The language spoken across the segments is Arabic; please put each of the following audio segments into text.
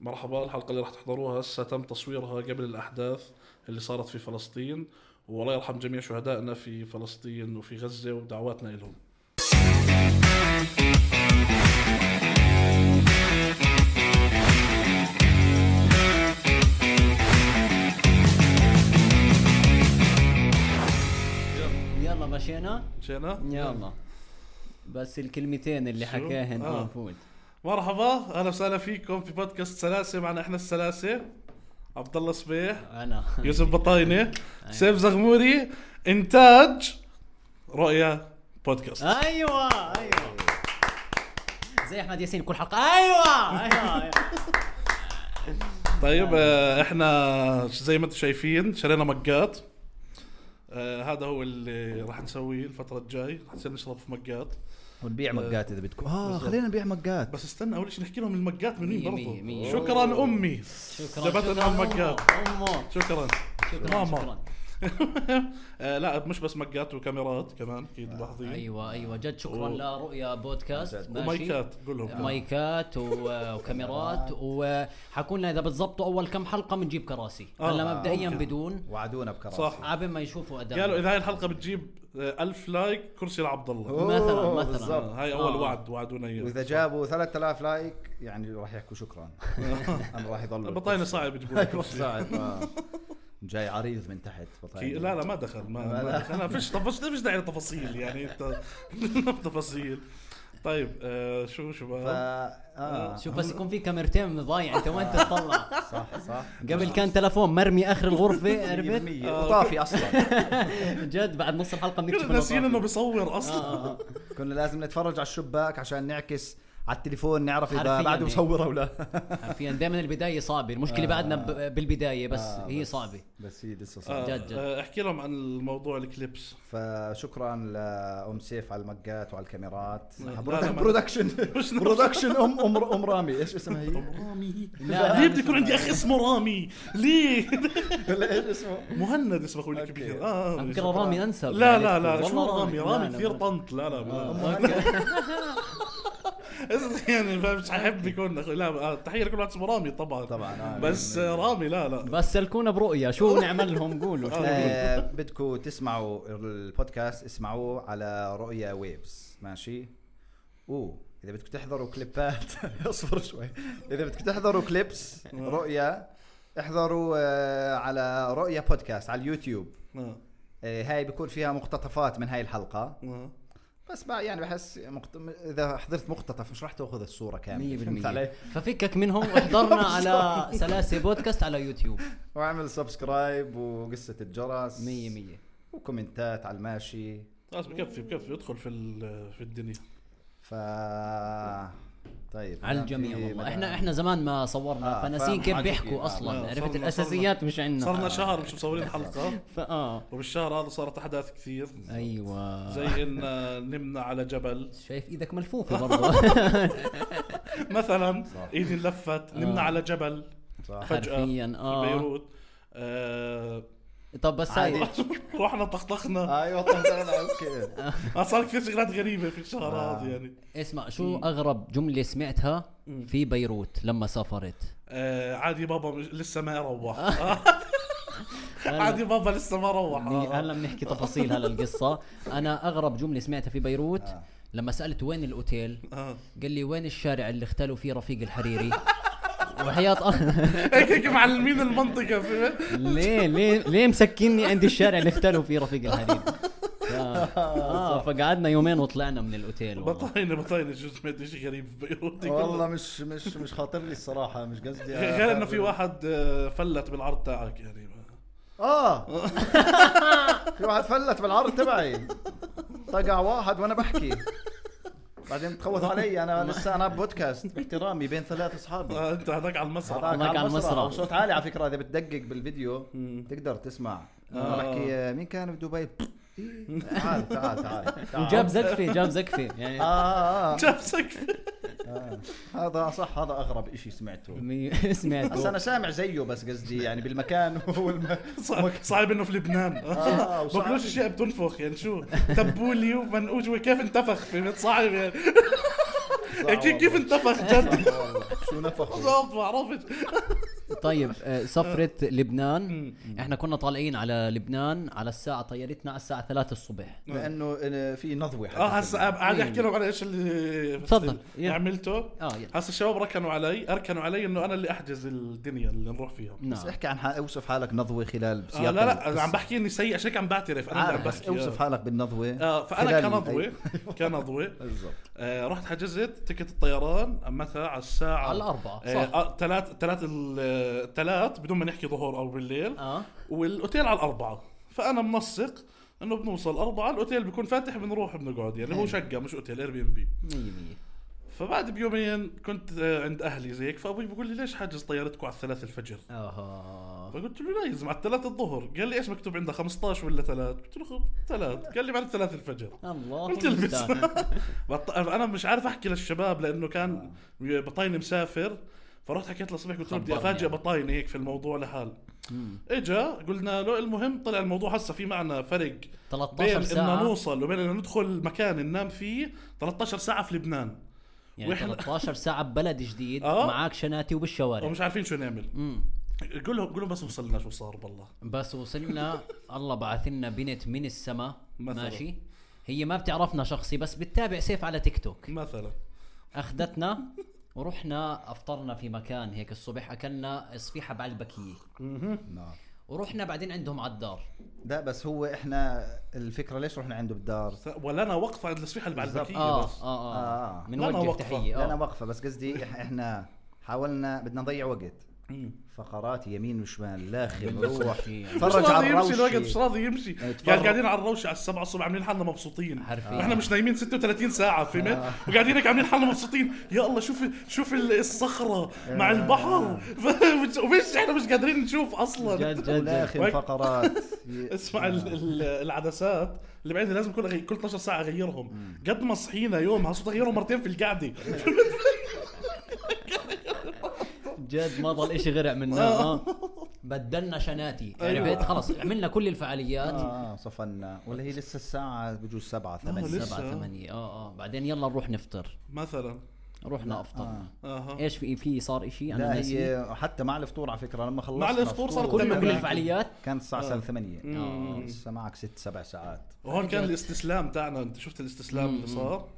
مرحبا الحلقة اللي رح تحضروها هسه تم تصويرها قبل الأحداث اللي صارت في فلسطين والله يرحم جميع شهدائنا في فلسطين وفي غزة ودعواتنا لهم يلا مشينا مشينا؟ يلا بس الكلمتين اللي شو؟ حكاهن آه. المفروض مرحبا أهلا وسهلا فيكم في بودكاست سلاسة معنا إحنا السلاسة عبد الله صبيح انا يوسف بطاينة سيف زغموري إنتاج رؤيا بودكاست ايوه ايوه زي احمد ياسين كل حلقه ايوه ايوه, أيوة. طيب آه، احنا زي ما انتم شايفين شرينا مقات آه هذا هو اللي راح نسويه الفترة الجاي راح نصير نشرب في مقات ونبيع مقات اذا بدكم اه بالضبط. آه، خلينا نبيع مقات بس استنى اول شيء نحكي لهم المقات من مين مية- برضه مية- مية. شكرا امي شكرا جبت لنا شكراً، أمه، مقات. امه شكرا شكرا ماما. شكرا آه لا مش بس مقات وكاميرات كمان اكيد ملاحظين ايوه ايوه جد شكرا و- لرؤيا بودكاست ماشي. ومايكات قول لهم كمان. مايكات و- وكاميرات وحكوا لنا اذا بتزبطوا اول كم حلقه بنجيب كراسي آه، هلا آه، مبدئيا ممكن. بدون وعدونا بكراسي صح. عبين ما يشوفوا اداء قالوا اذا هاي الحلقة بتجيب آه، ألف لايك كرسي لعبد الله أوه، مثلاً- مثلاً. بالضبط. هاي اول آه. وعد وعدونا اياه واذا جابوا 3000 لايك يعني راح يحكوا شكرا انا راح يضل بطاينة صعب يجيبوا لك أيوة، كرسي صعب آه. جاي عريض من تحت في- طيب. بطاينة لا لا ما دخل ما, لا، ما لا. دخل ما فيش طفش فيش داعي لتفاصيل يعني انت تفاصيل طيب آه شو ف... شباب آه. شوف بس يكون في كاميرتين ضايع انت وين تطلع صح صح قبل كان تلفون مرمي اخر الغرفه عرفت مية- آه، وطافي اصلا جد بعد نص الحلقه بنكتشف كنا إنه ناسيين طافي. انه بيصور اصلا آه، آه. كنا لازم نتفرج على الشباك عشان نعكس على التليفون نعرف اذا حرفياً بعده هيك. مصوره ولا حرفيا دائما البدايه صعبه المشكله بعدنا ب- بالبدايه بس آه، هي بس- صعبه بس هي لسه صعبة آه جد جد. آه احكي لهم عن الموضوع الكليبس فشكرا لام سيف على المقات وعلى الكاميرات لا، برودك- ما- برودكشن مش نفس- برودكشن ام ام ام رامي ايش اسمها هي؟ رامي لا، لا، آه. ليه مش بده يكون عندي اخ اسمه رامي ليه ولا ايش اسمه؟ مهند اسمه اخوي أوكي. الكبير اه آه، فكرة رامي انسب لا يعني لا لا والله شو رامي لا، رامي لا، كثير لا. طنط لا لا لا. آه، أوكي. يعني مش ححب يكون أخوي. لا آه، تحيه لكل واحد اسمه رامي طبعا طبعا، آه، بس آه، رامي لا لا بس سلكونا برؤيا شو نعمل لهم قولوا شو آه، بدكم تسمعوا البودكاست اسمعوه على رؤيا ويفز ماشي اوه اذا بدكم تحضروا كليبات اصبر شوي اذا بدكم تحضروا كليبس رؤيا احضروا آه، على رؤيا بودكاست على اليوتيوب آه، آه، هاي بيكون فيها مقتطفات من هاي الحلقه آه. بس بقى يعني بحس مقت... اذا حضرت مقتطف مش راح تاخذ الصوره كامله فهمت 100% علي؟ ففكك منهم واحضرنا على سلاسة بودكاست على يوتيوب واعمل سبسكرايب وقصه الجرس 100% وكومنتات على الماشي خلاص بكفي بكفي ادخل في ال- في الدنيا ف طيب على مدام الجميع في- والله مدام- احنا احنا زمان ما صورنا آه، فناسين فاهم كيف حاجة كده. بيحكوا آه، اصلا عرفت صرنا- الاساسيات مش عندنا آه. صرنا شهر مش مصورين حلقه فاه وبالشهر هذا صارت احداث كثير ايوه زي ان آه، نمنا على جبل شايف ايدك ملفوفه برضه مثلا صح. آه. ايدي لفت نمنا على جبل صح فجاه حرفياً، آه. في بيروت آه، طب بس عادي. هاي رحنا طخطخنا ايوه طب تعال، اوكي آه، صار كثير شغلات غريبه في الشهر آه. هذا يعني اسمع شو اغرب جمله سمعتها في بيروت لما سافرت آه، عادي بابا مش لسه ما روح آه. آه. عادي بابا لسه ما روح بني- آه. يعني هلا بنحكي تفاصيل هلا القصه انا اغرب جمله سمعتها في بيروت آه. لما سالت وين الاوتيل آه. قال لي وين الشارع اللي اختلوا فيه رفيق الحريري وحياة الله هيك هيك معلمين المنطقه في ليه ليه ليه مسكني عند الشارع اللي اختلوا فيه رفيق الحريري ف- اه فقعدنا يومين وطلعنا من الاوتيل والله بطاينه بطاينه شو سمعت شيء غريب في بيروت والله مش مش مش خاطر لي الصراحه مش قصدي غير انه في واحد آه، فلت بالعرض تاعك يعني آه. اه في واحد فلت بالعرض تبعي طقع واحد وانا بحكي بعدين تخوث علي انا لسه انا بودكاست باحترامي بين ثلاث اصحابي آه، انت هذاك على المسرح هذاك هذاك على على المسرح. المسرح صوت عالي على فكره اذا بتدقق بالفيديو تقدر تسمع انا آه. بحكي آه، مين كان بدبي إيه، تعال تعال تعال تعال. وجاب زقفه جاب زقفه يعني آه، آه، آه. جابسك هذا صح هذا اغرب شيء سمعته مي- بس انا سمعته سامع زيه بس قصدي يعني بالمكان والم... صع- صعب انه في لبنان آه، وصعب. باكلوش اشياء بتنفخ يعني شو تبولي ومنقوش وكيف انتفخ في صعب يعني كيف كيف انتفخ جد والله. شو نفخوا بالضبط ما عرفت طيب آه، سفرة لبنان احنا كنا طالعين على لبنان على الساعة طيارتنا على الساعة 3 الصبح لانه آه، في نضوي حتى اه هسه قاعد احكي لهم على ايش اللي تفضل. يلا. عملته اه يلا هسه الشباب ركنوا علي اركنوا علي انه انا اللي احجز الدنيا اللي نروح فيها بس نعم احكي عن حالك اوصف حالك نضوي خلال آه لا لا القصة. انا عم بحكي اني سيء عشان هيك عم بعترف انا اللي عم عارف بس بحكي اوصف آه. حالك بالنضوه اه فانا خلال- كنضوي كنضوي بالضبط آه رحت حجزت تكت الطيران متى على الساعه على الأربعة صح آه ثلاث ثلاث ثلاث بدون ما نحكي ظهور او بالليل اه والاوتيل على الاربعه فانا منسق انه بنوصل أربعة الاوتيل بيكون فاتح بنروح بنقعد يعني هو حلو. شقه مش اوتيل اير بي ام بي 100% فبعد بيومين كنت آه، عند اهلي زيك فابوي بيقول لي ليش حاجز طيارتكم على الثلاث الفجر اها فقلت له لا يا زلمه على الثلاث الظهر قال لي ايش مكتوب عندها 15 ولا ثلاث قلت له خب ثلاث قال لي بعد الثلاث الفجر الله طيب. قلت البس. المستعان. بط... انا مش عارف احكي للشباب لانه كان بطايني مسافر فرحت حكيت له الصبح قلت له بدي خبرني افاجئ يعني. بطايني هيك في الموضوع لحال مم. اجا قلنا له المهم طلع الموضوع هسه في معنا فرق 13 بين بدنا ساعة نوصل وبين انه ندخل مكان ننام فيه 13 ساعه في لبنان يعني وإحنا- 13 ساعة ببلد جديد آه. معاك شناتي وبالشوارع ومش عارفين شو نعمل مم. قول لهم قول لهم بس وصلنا شو صار بالله بس وصلنا الله بعث لنا بنت من السماء مثلاً. ماشي هي ما بتعرفنا شخصي بس بتتابع سيف على تيك توك مثلا اخذتنا ورحنا افطرنا في مكان هيك الصبح اكلنا صفيحه بعلبكيه نعم ورحنا بعدين عندهم على الدار لا بس هو احنا الفكره ليش رحنا عنده بالدار ولا انا واقفه عند الصفيحه اللي بعد بالضبط. البكيه اه إيه بس اه اه آه. من لا، أنا وجه وقفة. تحيه لا انا اه واقفه بس قصدي إح- احنا حاولنا بدنا نضيع وقت مم. فقرات يمين وشمال لاخر بالنص روح ماشي. مش تفرج راضي على يمشي الوقت مش الروش راضي يمشي اتفرج. قاعد قاعدين على الروشه على السبعة الصبح عاملين حالنا مبسوطين حرفياً. واحنا مش نايمين 36 ساعه فهمت وقاعدين هيك عاملين حالنا مبسوطين يا الله شوف شوف ال- الصخره مع البحر ومش احنا مش قادرين نشوف اصلا جد جد جد ولاخر وهيك- فقرات اسمع ال- ال- العدسات اللي بعدين لازم كل غي- كل 12 ساعه اغيرهم قد ما صحينا يومها صرت اغيرهم مرتين في القعده جد ما ضل شيء غير عملناه آه. اه بدلنا شناتي أيوة. عرفت خلص عملنا كل آه. الفعاليات اه صفنا ولا هي لسه الساعه بجوز سبعة لسه. ثمانية سبعة ثمانية اه اه بعدين يلا نروح نفطر مثلا رحنا افطرنا اها ايش في في صار شيء انا لا ناسي هي حتى مع الفطور على فكره لما خلصنا مع الفطور صار فطور، تمام. كل كل- الفعاليات كانت الساعه آه. 8 آه. لسه معك ست سبع ساعات وهون كان الاستسلام تاعنا انت شفت الاستسلام اللي صار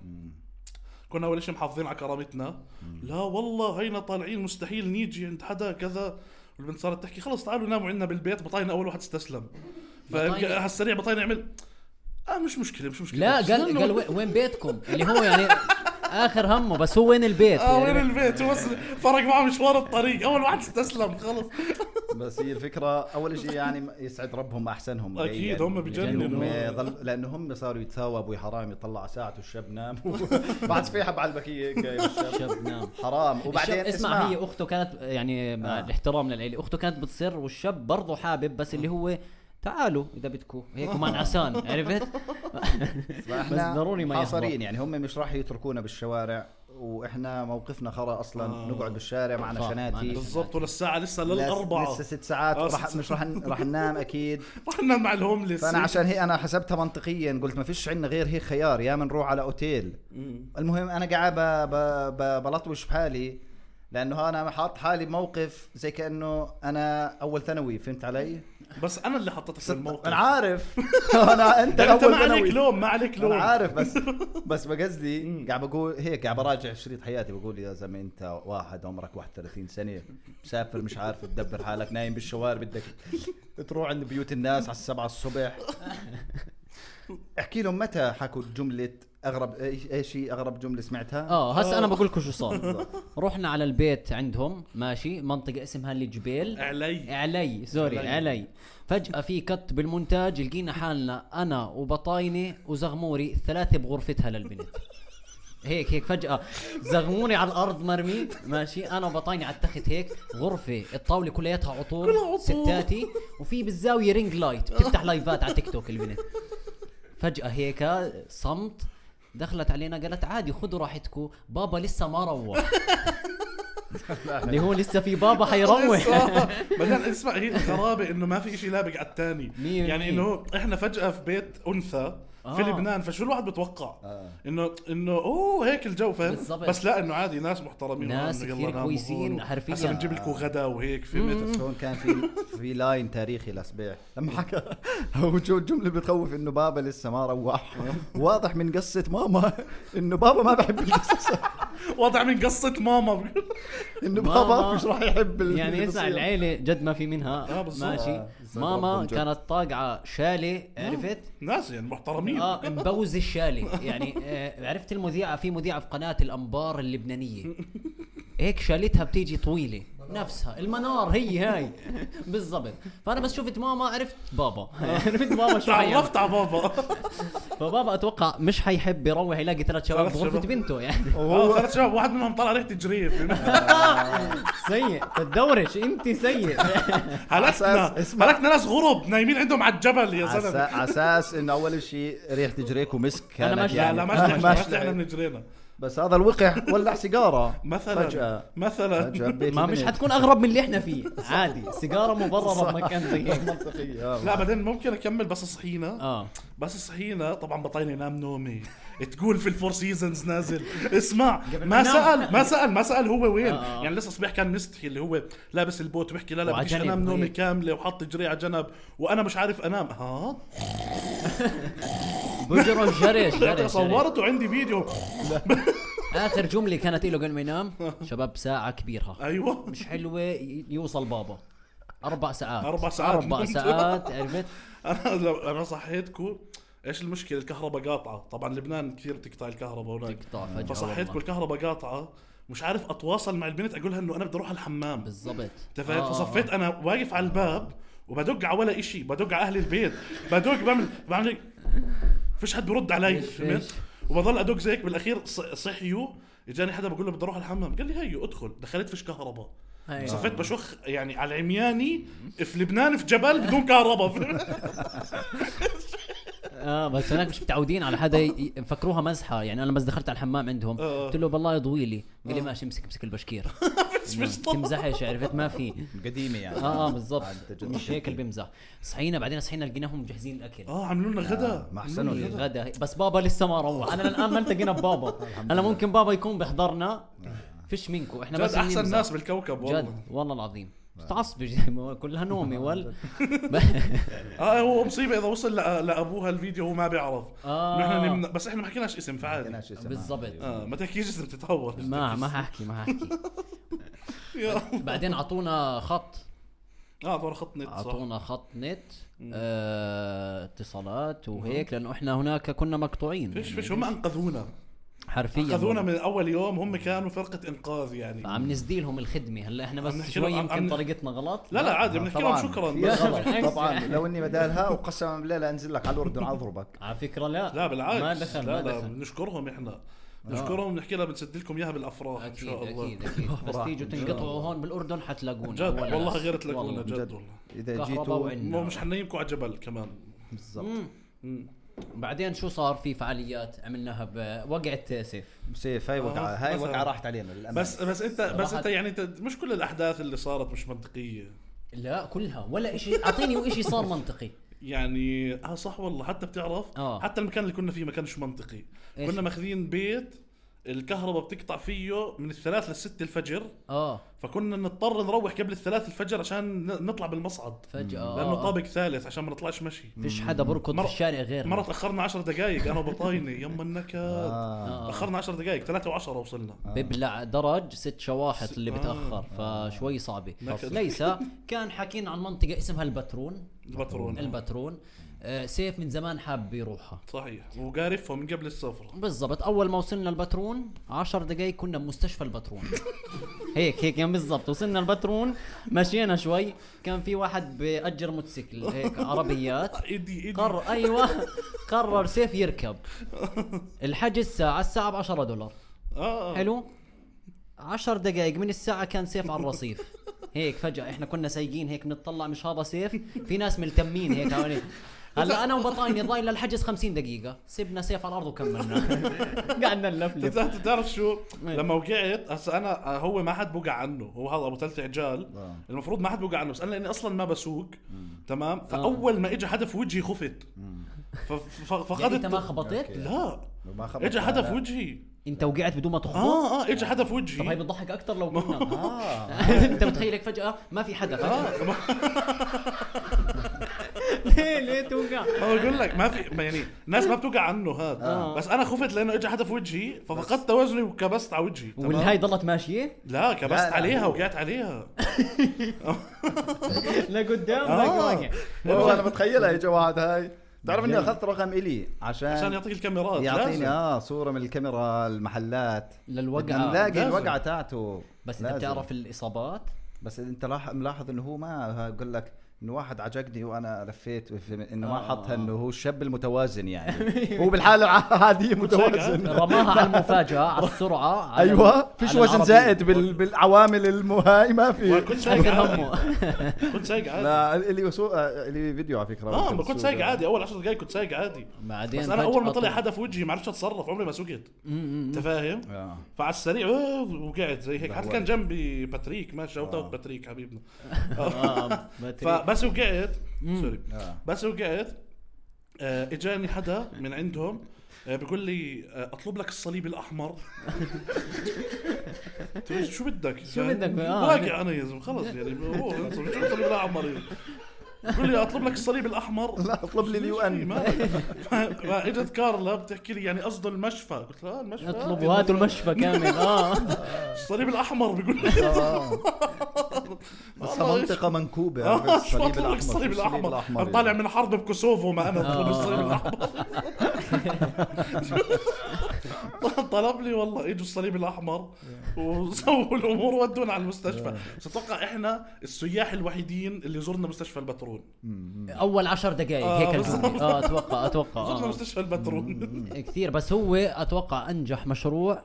كنا اول شيء محافظين على كرامتنا لا والله هينا طالعين مستحيل نيجي عند حدا كذا والبنت صارت تحكي خلص تعالوا ناموا عندنا بالبيت بطاينة اول واحد استسلم بطاينة- فعلى السريع بطاينة عمل اه مش مشكله مش مشكله لا قال استنوا. قال وين- وين بيتكم اللي هو يعني اخر همه بس هو وين البيت اه وين يعني البيت هو بس فرق معه مشوار الطريق اول واحد استسلم خلص بس هي الفكره اول شيء يعني يسعد ربهم احسنهم أكيد، مبين. هم بجننوا. هم ظل- لانه هم صاروا يتثاوبوا يا حرام يطلع ساعته الشاب نام بعد في حب على البكيه هيك جاي الشاب. شاب نام حرام وبعدين الشاب- اسمع هي اخته كانت يعني مع آه. الاحترام للعيله اخته كانت بتصر والشاب برضه حابب بس اللي هو تعالوا اذا بدكم هيك ومع عسان عرفت بس فإحنا ضروري ما حاصرين يحضر يعني هم مش راح يتركونا بالشوارع واحنا موقفنا خرا اصلا آه. نقعد بالشارع معنا صح، معنا شناتي شناتي. بالضبط وللساعه لسه لس- للاربعه لسه ست ساعات آه، راح ست مش راح ن- راح ننام اكيد رح ننام مع الهوملس فانا عشان هي انا حسبتها منطقيا قلت ما فيش عندنا غير هيك خيار يا بنروح على اوتيل المهم انا قاعد ب- ب- ب- بلطوش بحالي لانه انا حاط حالي بموقف زي كانه انا اول ثانوي فهمت علي؟ بس انا اللي حطيتك في الموقف انا عارف انا انت يعني انت اول ما عليك ثانوي لوم ما عليك لوم انا عارف بس بس بقصدي مم. قاعد بقول هيك قاعد براجع شريط حياتي بقول يا زلمه انت واحد عمرك 31 سنه مسافر مش عارف تدبر حالك نايم بالشوارع بدك تروح عند بيوت الناس على السبعة الصبح احكي لهم متى حكوا جمله اغرب ايش ايش هي اغرب جمله سمعتها؟ اه هسا انا بقول لكم شو صار رحنا على البيت عندهم ماشي منطقه اسمها الجبيل علي علي سوري علي. علي. علي فجأة في كت بالمونتاج لقينا حالنا أنا وبطاينة وزغموري الثلاثة بغرفتها للبنت هيك هيك فجأة زغموري على الأرض مرمي ماشي أنا وبطاينة على التخت هيك غرفة الطاولة كلياتها عطور كلها عطور. ستاتي وفي بالزاوية رينج لايت بتفتح لايفات على تيك توك البنت فجأة هيك صمت دخلت علينا قالت عادي خذوا راحتكم بابا لسه ما روح اللي هو لسه في بابا حيروح لسه. آه. بعدين اسمع هي الغرابه انه ما في شيء لابق على الثاني مية يعني بالمية. انه احنا فجاه في بيت انثى في آه. لبنان فشو الواحد بتوقع آه. انه انه اوه هيك الجو فاهم بالضبط. بس لا انه عادي ناس محترمين ناس وإنه يلا كتير ناموا كويسين هون. حرفياً. هسا بنجيب لكم غدا وهيك فهمت بس هون كان في في لاين تاريخي لسبيع لما حكى هو جو الجمله بتخوف انه بابا لسه ما روح واضح من قصه ماما انه بابا ما بحب القصص وضع من قصه ماما انه ماما. بابا مش راح يحب ال- يعني اسمع القصير. العيله جد ما في آه، منها بالظبط. ماشي آه، بالظبط. ماما ربهم جد. كانت طاقعه شاله آه. عرفت ناس يعني محترمين اه مبوز الشالي يعني آه عرفت المذيعه في مذيعه في قناه الانبار اللبنانيه هيك شالتها بتيجي طويله نفسها المنار هي هاي بالضبط فانا بس شفت ماما عرفت بابا آه. عرفت بابا شو حيعمل. تعرفت على بابا فبابا اتوقع مش حيحب يروح يلاقي ثلاث شباب ثلاث بغرفه شباب. بنته يعني آه، ثلاث شباب واحد منهم طلع ريحه جريف فهمت؟ سيء تدورش انت سيء هلكنا أساس- اسمع. هلكنا ناس غرب نايمين عندهم على الجبل يا عسا- زلمه عساس انه اول شيء ريحه جريك ومسك أنا كانت ماشي. لا لا آه، ما شلحنا- ما ماشي. شلحنا من جرينا بس هذا الوقح ولع سيجاره مثلا فجاه فجاه مثلا بيت ما مش البنت. حتكون اغرب من اللي احنا فيه عادي سيجاره مبرره بمكان زي هيك منطقية، آه. لا بعدين ممكن اكمل بس صحينا اه بس صحينا طبعا بطيني نام نومي تقول في الفور سيزونز نازل اسمع قبل ما ما نام. سال ما سال ما سال هو وين آه. يعني لسه صبيح كان مستحي اللي هو لابس البوت وبيحكي لا لا وعلى بديش جنب انام نومي هيك. كامله وحط جري على جنب وانا مش عارف آه. انام ها بجرى الجري جري جري. صورته عندي فيديو اخر جمله كانت له قبل ما ينام شباب ساعه كبيره ايوه مش حلوه ي- يوصل بابا اربع ساعات أربع ساعات. اربع ساعات عرفت انا لو انا صحيتكم ايش المشكله الكهرباء قاطعه طبعا لبنان كثير بتقطع الكهرباء هناك تقطع فجاه فصحيتكم والله. الكهرباء قاطعه مش عارف اتواصل مع البنت اقول لها انه انا بدي اروح على الحمام بالضبط آه. انت فاهم فصفيت انا واقف على الباب وبدق على ولا إشي بدق على اهل البيت بدق بعمل بعمل هيك. فيش حد برد علي فيش- فهمت فيش. وبضل ادق زيك بالاخير ص- صحيوا اجاني حدا بقول له بدي اروح على الحمام قال لي هيو ادخل دخلت فيش كهرباء هاي. صفيت بشخ يعني على العمياني في لبنان في جبل بدون كهرباء اه بس هناك مش متعودين على حدا ي- يفكروها مزحه يعني انا بس دخلت على الحمام عندهم آه. قلت له بالله يضوي لي قال لي ماشي امسك امسك البشكير مش مش طبيعي تمزحش عرفت ما في قديمه يعني اه اه بالضبط عاد تجربة مش هيك اللي بيمزح صحينا بعدين صحينا لقيناهم مجهزين الاكل اه عملوا لنا غدا آه، ما أحسنوا عملوا لنا لي. غدا. غدا بس بابا لسه ما روح انا الان ما التقينا ببابا هلا ممكن بابا يكون بحضرنا فيش منكم احنا بس جد بنمزح. احسن ناس بالكوكب والله جد والله العظيم متعصب كلها نومي وال اه هو مصيبه اذا وصل لأ- لابوها الفيديو هو ما بيعرف آه. احنا نمنا بس احنا ما حكيناش اسم فعادي كناش اسمها. بالضبط. آه. اه ما تحكيش اسم تتهور ما ما حاحكي ما حاحكي يا الله. بعدين اعطونا خط اه طبعا خط نت صح اعطونا خط نت آه، اتصالات وهيك لانه احنا هناك كنا مقطوعين فيش يعني فيش هم انقذونا حرفيا انقذونا والله. من اول يوم هم كانوا فرقه انقاذ يعني عم نزديلهم الخدمه هلا احنا عم بس نحكي شوي لهم- عم- يمكن عم- طريقتنا غلط لا لا عادي بنحكي لهم طبعاً. شكرا في بس. غلط. بالعكس. طبعا لو اني بدالها وقسما بالله لانزل لك على الاردن اضربك على فكره لا لا بالعكس ما دخل لا ما لا دخل آه. بنشكرهم احنا بنشكرهم بنحكي لها بنسد لكم اياها بالافراح ان اكيد شاء الله اكيد اكيد بس راح. تيجوا تنقطعوا هون بالاردن حتلاقونا جد ولا والله بس. غير تلاقونا والله. جد والله اذا كهرباء جيتوا وعنا. مو مش حنيمكم على جبل كمان بالضبط بعدين شو صار في فعاليات عملناها بوقعت سيف سيف هاي وقعه آه، هاي مثلاً. وقعه راحت علينا للامانه بس بس انت بس صراحة- انت يعني انت مش كل الاحداث اللي صارت مش منطقيه لا كلها ولا شيء اعطيني وإشي صار منطقي يعني اه صح والله حتى بتعرف آه. حتى المكان اللي كنا فيه ما كانش منطقي إيش؟ كنا ماخذين بيت الكهرباء بتقطع فيه من الثلاث للست الفجر اه فكنا نضطر نروح قبل الثلاث الفجر عشان ن- نطلع بالمصعد فجاه لانه آه. طابق ثالث عشان ما نطلعش مشي فيش حدا بركض مرة- في الشارع غير مره تاخرنا 10 دقائق انا وبطايني يما النكد آه. تاخرنا 10 دقائق 3 و10 وصلنا ببلع درج ست شواحط اللي آه. بتاخر فشوي صعبه نكد. ليس كان حاكينا عن منطقه اسمها البترون البترون البترون آه، سيف من زمان حاب يروحها صحيح وقارفهم من قبل السفر بالضبط اول ما وصلنا البترون عشر دقائق كنا بمستشفى البترون هيك هيك يعني بالضبط وصلنا البترون مشينا شوي كان في واحد بأجر موتوسيكل هيك عربيات ايدي ايدي قرر ايوه قرر سيف يركب الحجز ساعه الساعه ب 10 دولار اه حلو 10 دقائق من الساعة كان سيف على الرصيف هيك فجأة احنا كنا سايقين هيك بنطلع مش هذا سيف في ناس ملتمين هيك حوالين هلا انا وبطايني ضايل للحجز 50 دقيقه سيبنا سيف على الارض وكملنا قعدنا نلفلف انت بتعرف شو إيه. لما وقعت هسا انا هو ما حد بوقع عنه هو هذا ابو ثلاث عجال آه. المفروض ما حد بوقع عنه بس انا لاني اصلا ما بسوق آه. تمام فاول ما اجى حدا في وجهي خفت ف- ف- يعني انت ما فقدت خبطت؟ لا ما خبط اجى حدا لا. في وجهي انت وقعت بدون ما تخبط؟ اه اه اجى حدا في طب هاي وجهي بتضحك اكثر لو قلنا اه انت متخيلك فجاه ما في حدا فجاه اه ليه ليه توقع؟ ما بقول لك ما في ما يعني الناس ما بتوقع عنه هذا آه. بس انا خفت لانه اجى حدا في وجهي ففقدت توازني وكبست على وجهي تمام؟ والهاي ضلت ماشيه لا كبست لا، لا، عليها هو- وقعت عليها لقدام آه. لا والله انا بتخيلها اجى واحد هاي بتعرف اني اخذت رقم الي عشان عشان يعطيك الكاميرات لازم. آه، يعطيني اه صوره من الكاميرا المحلات بدنا للوقعه نلاقي لازم. الوقعه تاعته بس انت لازم. بتعرف الاصابات بس انت لاح- ملاحظ انه هو ما اقول لك انه واحد عجقني وانا لفيت وف- انه ما آه. حطها انه هو الشاب المتوازن يعني هو بالحاله العاديه متوازن رماها على المفاجاه على السرعه على ايوه ال- فيش على وزن العربية. زائد بال- بالعوامل المهاي ما في وكنت سايق شايل عادي همه كنت سايق عادي آه. لا اللي وسو... آه، اللي فيديو على فكره اه ما كنت بسوق. سايق عادي اول 10 دقائق كنت سايق عادي بعدين بس انا فجأة اول ما طلع حدا في وجهي ما عرفتش اتصرف عمري ما سقت انت فاهم؟ آه. فعلى السريع آه، وقعت زي هيك لا حتى كان والله. جنبي باتريك ماشي شوت آه. اوت باتريك حبيبنا آه، باتريك. فبس وقعت سوري آه. بس وقعت آه، اجاني حدا من عندهم آه، بيقول لي آه، اطلب لك الصليب الاحمر قلت له شو بدك شو بدك؟ آه. واقع انا يا زلمه خلص يعني هو انسى، شو الصليب الاحمر يا زلمة؟ بيقول لي اطلب لك الصليب الاحمر لا اطلب لي اليو في ان مالك؟ ما- ما اجت كارلا بتحكي لي يعني قصده المشفى قلت لها آه، المشفى اطلبوا هاتوا المشفى كامل اه الصليب الاحمر بيقول لي بس والله منطقه منكوبه آه، بس شو اطلب لك الصليب الاحمر الصليب الاحمر انا يعني. طالع من حرب بكوسوفو ما انا بطلب الصليب الاحمر طلب لي والله اجوا الصليب الاحمر وسووا الامور ودونا على المستشفى بس اتوقع احنا السياح الوحيدين اللي زرنا مستشفى البترول اول عشر دقائق آه، هيك بالضبط. الفيديو. اه اتوقع اتوقع زرنا آه. مستشفى البترول كثير بس هو اتوقع انجح مشروع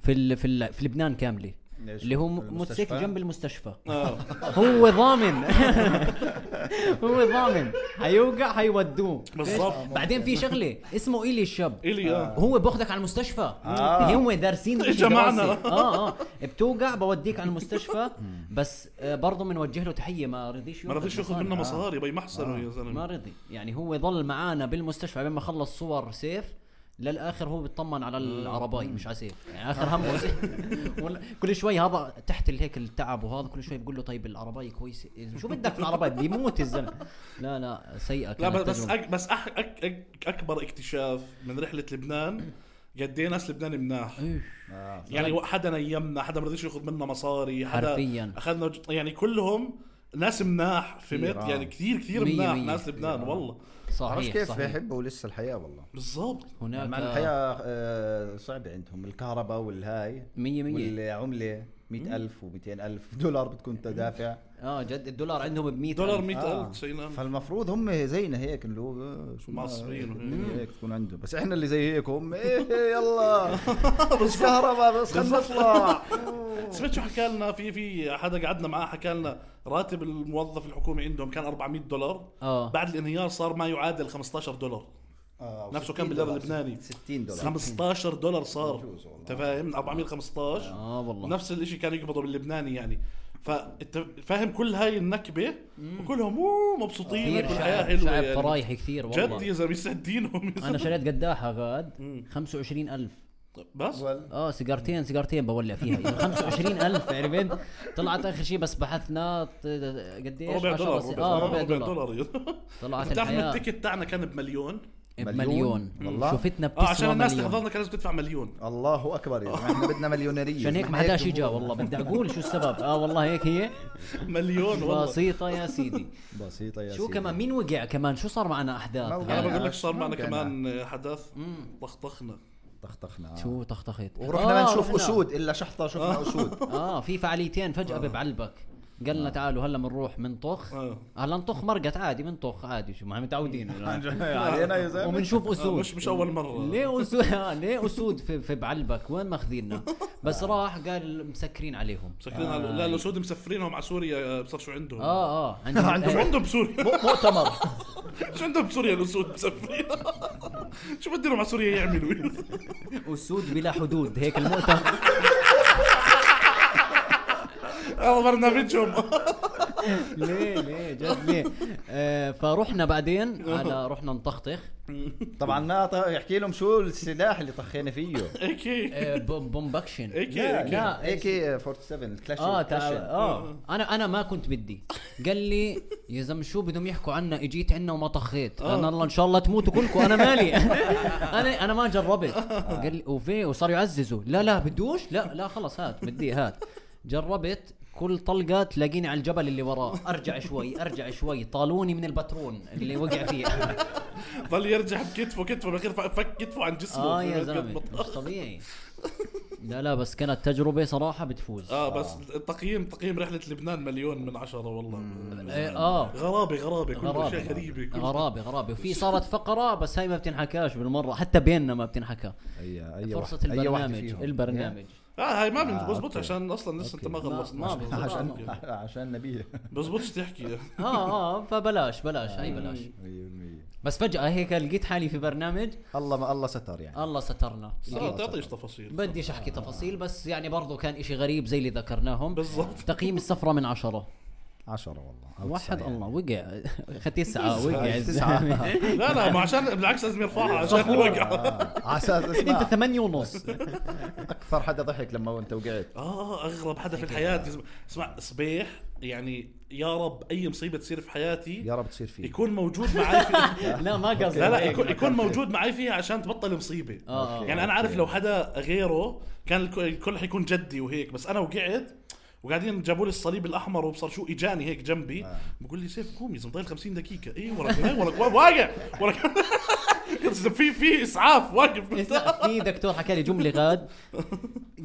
في ال... في ال... في لبنان كامله ليش؟ اللي هو م- المستشفى؟ موتوسيكل جنب المستشفى آه. Mm-hmm. هو ضامن هو ضامن حيوقع حيودوه بالضبط بعدين في شغله اسمه ايلي الشاب الي آه. هو باخذك على المستشفى آه. هم دارسين إجا الإشي معنا. دراسة. اه اه بتوقع بوديك على المستشفى بس آه، برضه بنوجه له تحيه ما رضيش ما رضيش ياخذ مصاري. منا آه. مصاري بي محسنه يا ما زلمه رضي يعني هو ظل معانا بالمستشفى لما خلص صور سيف للاخر هو بيطمن على العرباي مش على سيف يعني اخر آه. همه سيف ولا- كل شوي هذا تحت ال- هيك التعب وهذا كل شوي بقول له طيب العرباي كويسه شو بدك في العرباي بيموت الزلمه لا لا سيئه لا كانت بس بس, تجربة. أك بس أح أك أك اكبر اكتشاف من رحله لبنان قد ايه ناس لبنان مناح إيه، آه. يعني حدا نيمنا حدا ما رضيش ياخذ منا مصاري حدا حرفياً. اخذنا وج- يعني كلهم ناس مناح فهمت كتير، آه. يعني كثير كثير مية مناح مية. ناس لبنان كتير، آه. والله عرفت صحيح كيف صحيح نعم. يحبوا لسه الحياه والله بالضبط هناك مع الحياة آه، صعبة عندهم الكهرباء والهاي مية مية والعملة 100000 و200 ألف دولار بتكون تدافع اه جد الدولار عندهم ب 100 دولار ألف. 100000 90 ألف. نعم. فالمفروض هم زينا هيك اللي هو آه، شو ما- معصبين وهيك. الدنيا هيك تكون عندهم بس احنا اللي زي هيك هم ايه إيه، يلا بس كهرباء بس خلينا نطلع سمعت شو حكى لنا في في حدا قعدنا معاه حكى لنا راتب الموظف الحكومي عندهم كان 400 دولار اه بعد الانهيار صار ما يعادل 15 دولار آه، نفسه 60 كان بالليفل دولار، اللبناني. 60 دولار 15 دولار صار بجوز والله. انت فاهم 415 اه والله نفس الشيء كانوا يقبضوا باللبناني يعني فانت فاهم كل هاي النكبه وكلهم أوه مبسوطين كثير الحياه شعب حلوه شعب يعني فرايحي كثير جد والله يا زلمه يسعد دينهم يا انا زلمة. شريت قداحه غاد مم. 25000 بس وال- اه سيجارتين سيجارتين بولع فيها يعني 25000 عرفت طلعت اخر شيء بس بحثنا ط- قديش ربع 10 دولار بس- اه ربع دولار يا طلعت بتعرف انه الحياه التيكت تاعنا كان بمليون بمليون مليون؟ والله. شفتنا اه عشان بتسوى الناس مليون تحضرنا كان لازم تدفع مليون الله اكبر يا زلمه احنا بدنا مليونيريه عشان هيك ما حداش اجى والله بدي اقول شو السبب اه والله هيك هي مليون والله بسيطه يا سيدي بسيطه يا شو سيدي. كمان مين وقع كمان شو صار معنا احداث ما وقع. انا يعني بقول لك صار ما معنا كان. كمان حدث طخطخنا طخطخنا آه. شو تخطخت ورحنا آه، ما نشوف رحنا. اسود الا شحطه شفنا اسود اه في فعاليتين فجاه ببعلبك قالنا تعالوا هلا بنروح بنطخ آه. هلا نطخ مرقت عادي بنطخ عادي شو ما متعودين علينا يا زلمه وبنشوف اسود آه، مش مش اول مره ليه اسود آه، ليه اسود في, في بعلبك وين ماخذيننا بس راح قال مسكرين عليهم مسكرين على لا الاسود مسفرينهم على سوريا آه، بصير شو آه، عندهم اه اه شو عندهم عندهم بسوريا مؤتمر شو عندهم بسوريا الاسود مسافرين شو بدي مع سوريا يعملوا اسود بلا حدود هيك المؤتمر هذا برنامجهم ليه ليه جد ليه آه، فرحنا بعدين آه. على رحنا نطخطخ طبعا ما ط- يحكي لهم شو السلاح اللي طخينا فيه هيك هيك آه، بوم- بومبكشن هيك لا هيك لا اي كي 47 الكلاش اه الكلاش. تعال اه انا انا ما كنت بدي قال لي يا زلمه شو بدهم يحكوا عنا اجيت عنا وما طخيت انا الله ان شاء الله تموتوا كلكم انا مالي انا انا ما جربت قال لي وفي وصار يعززوا لا لا بدوش لا لا خلص هات بدي هات جربت كل طلقه تلاقيني على الجبل اللي وراه ارجع شوي ارجع شوي طالوني من البترون اللي وقع فيه آه، ضل يرجع بكتفه كتفه بالاخير فك كتفه عن جسمه اه يا زلمه مش طبيعي لا لا بس كانت تجربه صراحه بتفوز اه بس التقييم تقييم رحله لبنان مليون من عشرة والله إيه، اه غرابه غرابه كل غرابة شيء غريبه كل غرابة غرابة وفي صارت فقرة بس هاي ما بتنحكاش بالمرة حتى بيننا ما بتنحكى اي اي فرصة واحد- أي واحد البرنامج فيهم. البرنامج اه هاي ما آه، بزبط أوكي. عشان اصلا لسه انت ما ما- خلصت ما بزبط. عشان آه. عشان نبيه بزبطش تحكي اه اه فبلاش بلاش هاي آه. بلاش 100% بس فجأة هيك لقيت حالي في برنامج الله ما الله ستر يعني الله سترنا اه تعطيش تفاصيل بديش احكي تفاصيل بس يعني برضو كان اشي غريب زي اللي ذكرناهم بالضبط. تقييم السفرة من عشرة 10 والله أو واحد تسعة الله وقع تسعة وقع تسعة. الزلمة. لا لا ما عشان بالعكس لازم يرفعها عشان الوقع آه، على اساس انت اسمع ثمانية ونص اكثر حدا ضحك لما انت وقعت اه اغرب حدا في الحياه يعني. يا زلمة. اسمع صبيح يعني يا رب اي مصيبه تصير في حياتي يا رب تصير فيه يكون موجود معي في لا ما قصدي لا لا يكون, يكون موجود معي فيها عشان تبطل مصيبه آه. يعني انا عارف لو حدا غيره كان الك- الكل حيكون جدي وهيك بس انا وقعت وقاعدين جابوا لي الصليب الاحمر وبصر شو اجاني هيك جنبي آه. بقول لي سيف قوم يا زلمه ضايل 50 دقيقه ايه وراك إيه وراك وا- واقع وراك يا زلمة في في اسعاف واقف اسمع في دكتور حكى لي جمله غاد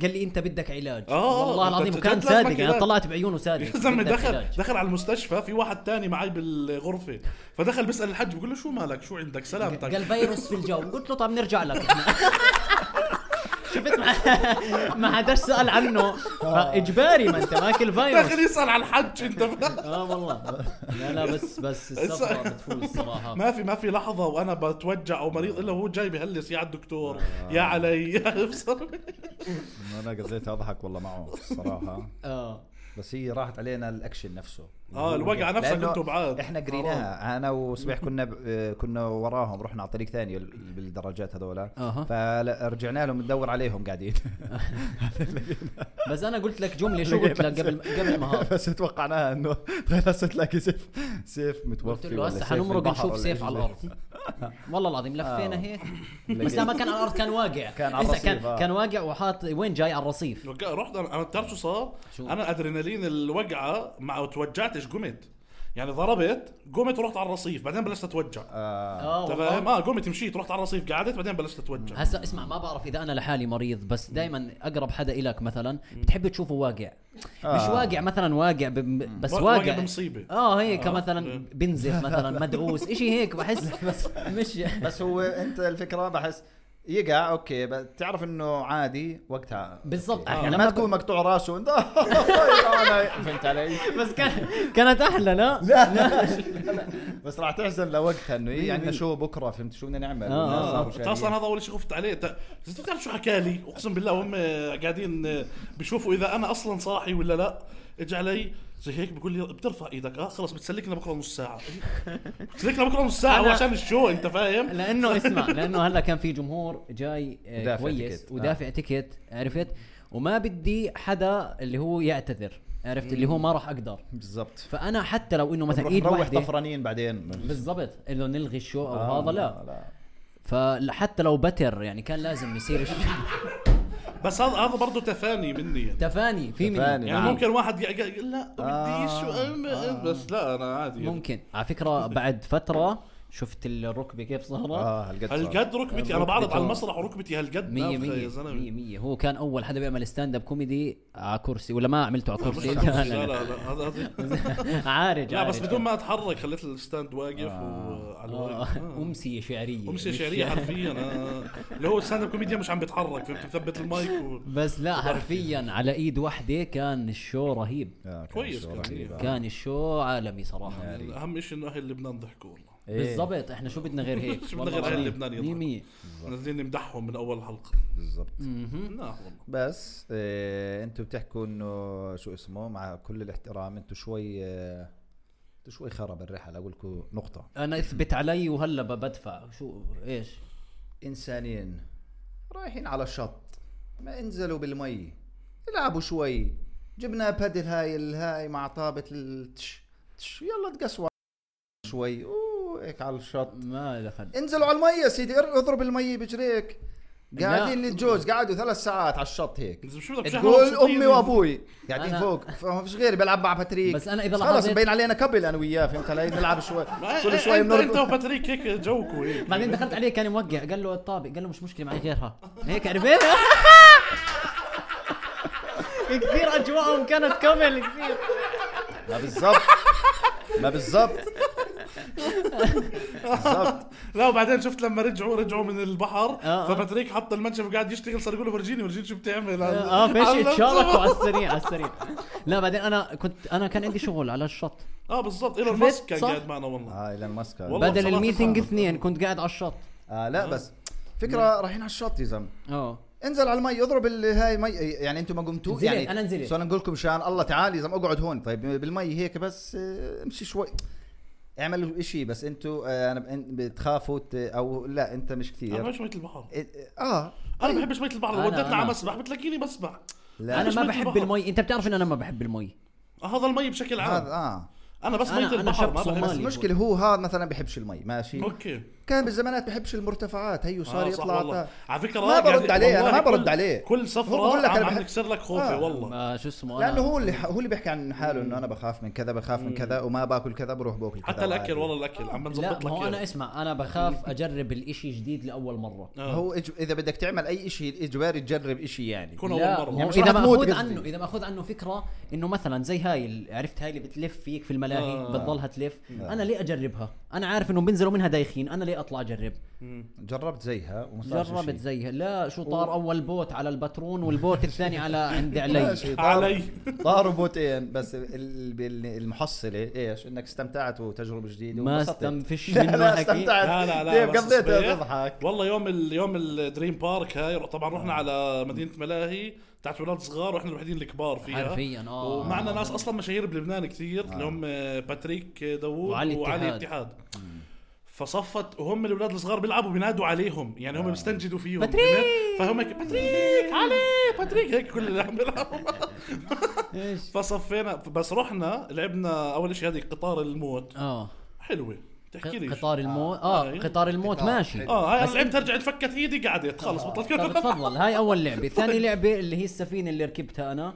قال لي انت بدك علاج آه، والله أنت العظيم جد كان لازمك صادق انا علاج. طلعت بعيونه يا صادق زلمه بدك دخل علاج. دخل على المستشفى في واحد تاني معي بالغرفه فدخل بيسال الحج بقول له شو مالك شو عندك طيب. قال سلامتك فيروس في الجو قلت له طب نرجع لك إحنا. شفت ما, ما حداش سال عنه اجباري ما انت ماكل دخل فيروس يسال على الحج انت فاهم؟ اه والله لا لا بس بس السفره بتفوز الصراحه ما في ما في لحظه وانا بتوجع او مريض الا وهو جاي بهلس يا على الدكتور يا آه. علي يا ابصر انا قضيت اضحك والله معه الصراحه اه بس هي راحت علينا الاكشن نفسه يعني آه، الوقعة نفسها لأنه كنتوا آه. بعاد. احنا قريناها انا وصبيح كنا ب... آه، كنا وراهم رحنا على طريق ثاني ال- بالدراجات هذولا أها. فرجعنا لهم ندور عليهم قاعدين بس انا قلت لك جمله شو قلت لك قبل قبل ما هذا بس توقعناها انه تخيل هسه تلاقي سيف سيف متوفي قلت له ولا هسه سيف حنمرق بالبحر نشوف ولا سيف إيش على زي- الارض والله العظيم لفينا آه. هيك بس لما كان على الارض كان واقع إيه، كان على إذا الرصيف، كان آه. كان واقع وحاط وين جاي على الرصيف رحت انا أنا بتعرف شو صار؟ شو؟ انا ادرينالين الوقعه مع توجعتش قمت يعني ضربت قمت ورحت على الرصيف بعدين بلشت اتوجع آه. اه أنت والله. فاهم؟ اه قمت مشيت رحت على الرصيف قعدت بعدين بلشت اتوجع هسا اسمع ما بعرف اذا انا لحالي مريض بس دائما اقرب حدا الك مثلا بتحب تشوفه واقع مش آه. واقع مثلا واقع ب- بس وا- واقع واقع بمصيبة. اه هيك آه. مثلا بنزف مثلا مدعوس اشي هيك بحس مش بس هو انت الفكره بحس يقع اوكي بس تعرف انه عادي وقتها بالضبط. يعني إحنا ما لما- تكون مقطوع راسه انت أنا- فهمت علي؟ بس كان كانت احلى لا لا لا بس راح تحزن لوقتها انه ايه عندنا شو بكره فهمت شو بدنا نعمل آه، آه. والناس انت صاروا اصلا هذا اول شيء خفت عليه انت أنت بتعرف شو حكى لي اقسم بالله وهم قاعدين آه، بيشوفوا اذا انا اصلا صاحي ولا لا اجى علي زي هيك بقول لي بترفع ايدك اه خلص بتسلكنا بكره نص ساعه بتسلكنا بكره نص ساعه أنا- وعشان الشو انت فاهم لانه اسمع لانه هلا كان في جمهور جاي آه، ودافع كويس تيكت. آه. ودافع تيكت عرفت وما بدي حدا اللي هو يعتذر عرفت اللي هو ما راح اقدر بالضبط فانا حتى لو انه مثلا نروح ايد نروح واحده طفرانين بعدين بالضبط انه نلغي الشو او آه، هذا لا فحتى لو بتر يعني كان لازم يصير شيء بس هذا هذا برضه تفاني مني يعني تفاني في تفاني، مني يعني نعم. ممكن واحد يق- يق- يقول لا بديش وأم- بس لا انا عادي يعني. آه. ممكن على فكره بعد فتره شفت الركبه كيف صارت اه هالقد صار. هالقد ركبتي انا بعرض على المسرح وركبتي هالقد مية نافخة مية يا زلمه مية مية هو كان أول حدا بيعمل ستاند اب كوميدي على كرسي ولا ما عملته على كرسي لا لا لا هذا- هذا- عارج لا بس عارج. بدون ما اتحرك خليت الستاند واقف وعلى آه، الواقف أمسية شعرية امسي مش- شعريه حرفيا آه. اللي هو ستاند اب كوميديا مش عم بيتحرك فهمت مثبت المايك و... بس لا حرفيا على إيد واحدة كان الشو رهيب آه، كان كويس شو كان. رهيب. كان الشو عالمي صراحة يعني، اهم شيء انه اهل لبنان ضحكوا والله إيه. بالضبط احنا شو بدنا غير هيك شو بدنا غير والله عيال العظيم. لبنان يطلع. مية مية نازلين نمدحهم من اول حلقه بالضبط مهم. لا والله بس إيه انتم بتحكوا انه شو اسمه مع كل الاحترام انتم شوي آه، انتم شوي خرب الرحله اقول لكم نقطه انا اثبت علي وهلا ب- بدفع شو ايش انسانين رايحين على الشط ما انزلوا بالمي العبوا شوي جبنا بادل هاي الهاي مع طابه التش تش يلا تقسوا شوي اوه هيك على الشط ما دخل انزلوا على المي يا سيدي ار- اضرب المي بجريك لا. قاعدين الجوز قعدوا ثلاث ساعات على الشط هيك بس شو بدك بشهر تقول مبسوطين. امي وابوي قاعدين أنا- فوق فما فيش غيري بلعب مع باتريك بس أنا إذا خلص لاحظت- مبين علينا كبل انا وياه فهمت علي نلعب شوي ما- كل إيه، شوي انت انت بنركض وباتريك هيك جوكوا هيك بعدين دخلت عليه كان موقع قال له الطابق قال له مش مشكله معي غيرها هيك يعني، عرفت كثير اجواءهم كانت كمل كثير ما بالضبط ما بالضبط بالضبط لا وبعدين شفت لما رجعوا رجعوا من البحر آه. فباتريك حط المنشف وقاعد يشتغل صار يقول له فرجيني فرجيني شو بتعمل اه فيش اتشاركوا على السريع على السريع لا بعدين انا كنت انا كان عندي شغل على الشط اه بالضبط ايلون شفت؟ ماسك كان صح؟ آه، قاعد معنا والله اه ايلون ماسك والله بدل بصراحة الميتنج صعب. اثنين كنت قاعد على الشط آه لا بس نعم. فكره رايحين على الشط يا زلمه اه انزل على المي اضرب ال- هاي مي يعني انتم ما قمتوا نزلت، يعني أنا نزلت. سو انا نقول لكم مشان الله تعال يا زلمه اقعد هون طيب بالمي هيك بس آه، امشي شوي اعملوا اشي بس انتوا آه، انا ب- إن- بتخافوا ت- او لا انت مش انا كثير بحبش مية البحر إيه. اه انا بحبش مية البحر لو أنا- ودتنا على أنا. مسبح بتلاقيني بسبح لا انا ما مش بحب مثل البحر. المي انت بتعرف ان انا ما بحب المي هذا المي بشكل هذا عام اه انا بس أنا- مية أنا البحر شاب ما صومالي. بحس بس المشكله هو هذا مثلا بحبش المي ماشي اوكي كان بالزمانات بحبش المرتفعات هيو صار آه، صح يطلع والله. تا- على فكره ما قاعد- برد عليه، أنا والله ما برد كل- عليه. كل هو بقول سفره لك عم أنا عم بحب- يكسر لك خوفي آه. والله ما شو اسمه أنا- لانه هو اللي هو اللي بيحكي عن حاله انه انا بخاف من كذا بخاف من كذا وما باكل كذا بروح باكل كذا حتى الاكل وعادي. والله الاكل عم لا بنظبط ما هو لك انا إياه. اسمع انا بخاف اجرب الاشي جديد لاول مره آه. هو إج... اذا بدك تعمل اي شيء اجباري تجرب شيء يعني يكون اول لا مره ما هو يعني مش اذا رح تموت ماخذ قصدي. عنه اذا ماخذ عنه فكره انه مثلا زي هاي ال- عرفت هاي اللي بتلف فيك في الملاهي آه. آه. بتضلها تلف آه. انا ليه اجربها انا عارف انه بينزلوا منها دايخين انا ليه اطلع اجرب جربت زيها وما صار شي. جربت زيها لا شو طار اول بوت على البترون والبوت الثاني على عند علي ماشي، طار- علي طاروا بوتين بس ال- بال- المحصله ايش انك استمتعت وتجربه جديده ما وانبسطت. استنفش لا، منه لا حكي. استمتعت لا لا لا كيف بس قضيت صبيح. تضحك والله يوم ال... يوم الدريم بارك هاي طبعا آه. رحنا على مدينه ملاهي تاعت اولاد صغار واحنا الوحيدين الكبار فيها حرفياً، آه. ومعنا ناس اصلا مشاهير بلبنان كثير اللي هم آه، باتريك داوود وعلي وعلي, وعلي اتحاد. اتحاد فصفت وهم الاولاد الصغار بيلعبوا بينادوا عليهم يعني هم بيستنجدوا فيهم باتريك! فهمت؟ فهم هيك باتريك علي باتريك هيك كل اللي عم بيلعبوا ايش فصفينا بس رحنا لعبنا اول شيء هذه قطار الموت اه حلوه تحكي لي قطار الموت اه آه، قطار الموت قطار. ماشي اه هاي انا لعبت رجعت فكت ايدي قعدت خلص بطلت آه. طب تفضل هاي اول لعبه ثاني لعبه اللي هي السفينه اللي ركبتها انا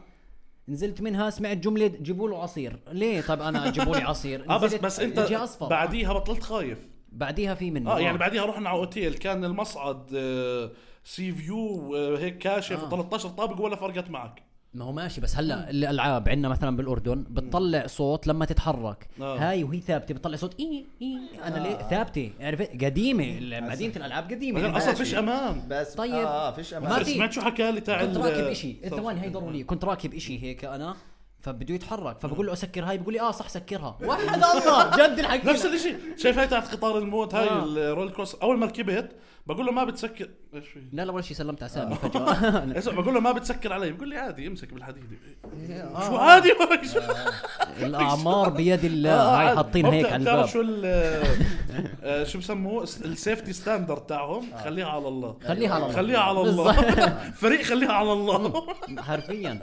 نزلت منها سمعت جمله جيبوا له عصير ليه طب انا جيبوا لي عصير اه بس نزلت، بس انت اجي اصفر بعديها بطلت خايف بعديها في منه اه يعني بعديها رحنا على اوتيل كان المصعد آه، سي فيو آه، هيك كاشف آه. 13 طابق ولا فرقت معك ما هو ماشي بس هلا الالعاب عندنا مثلا بالاردن بتطلع صوت لما تتحرك آه. هاي وهي ثابته بتطلع صوت اي اي انا ليه ثابته عرفت قديمه مدينه الالعاب بعدين قديمه اصلا يعني فيش امان بس طيب. اه فيش ما امان في- سمعت شو حكى لي تاع كنت ال- راكب إيه، شيء ثواني هي ضروري كنت راكب شيء هيك انا فبده يتحرك فبقول له اسكر هاي بقول لي اه صح سكرها وحد الله جد الحكي نفس الشيء شايف هاي تاعت قطار الموت هاي آه. الرول كوست اول ما ركبت بقول له ما بتسكر ايش في لا لا ولا شيء سلمت على آه. سامي فجاه اسمع، بقول له ما بتسكر علي بقول لي عادي امسك بالحديده إيه، آه. شو عادي ما شو الاعمار بيد الله آه، هاي عادي. حاطين ما هيك بتع- على بتعرف الباب شو ال- آه، شو بسموه السيفتي ستاندرد تاعهم خليها على الله آه. خليها على الله خليها على الله فريق خليها على الله حرفيا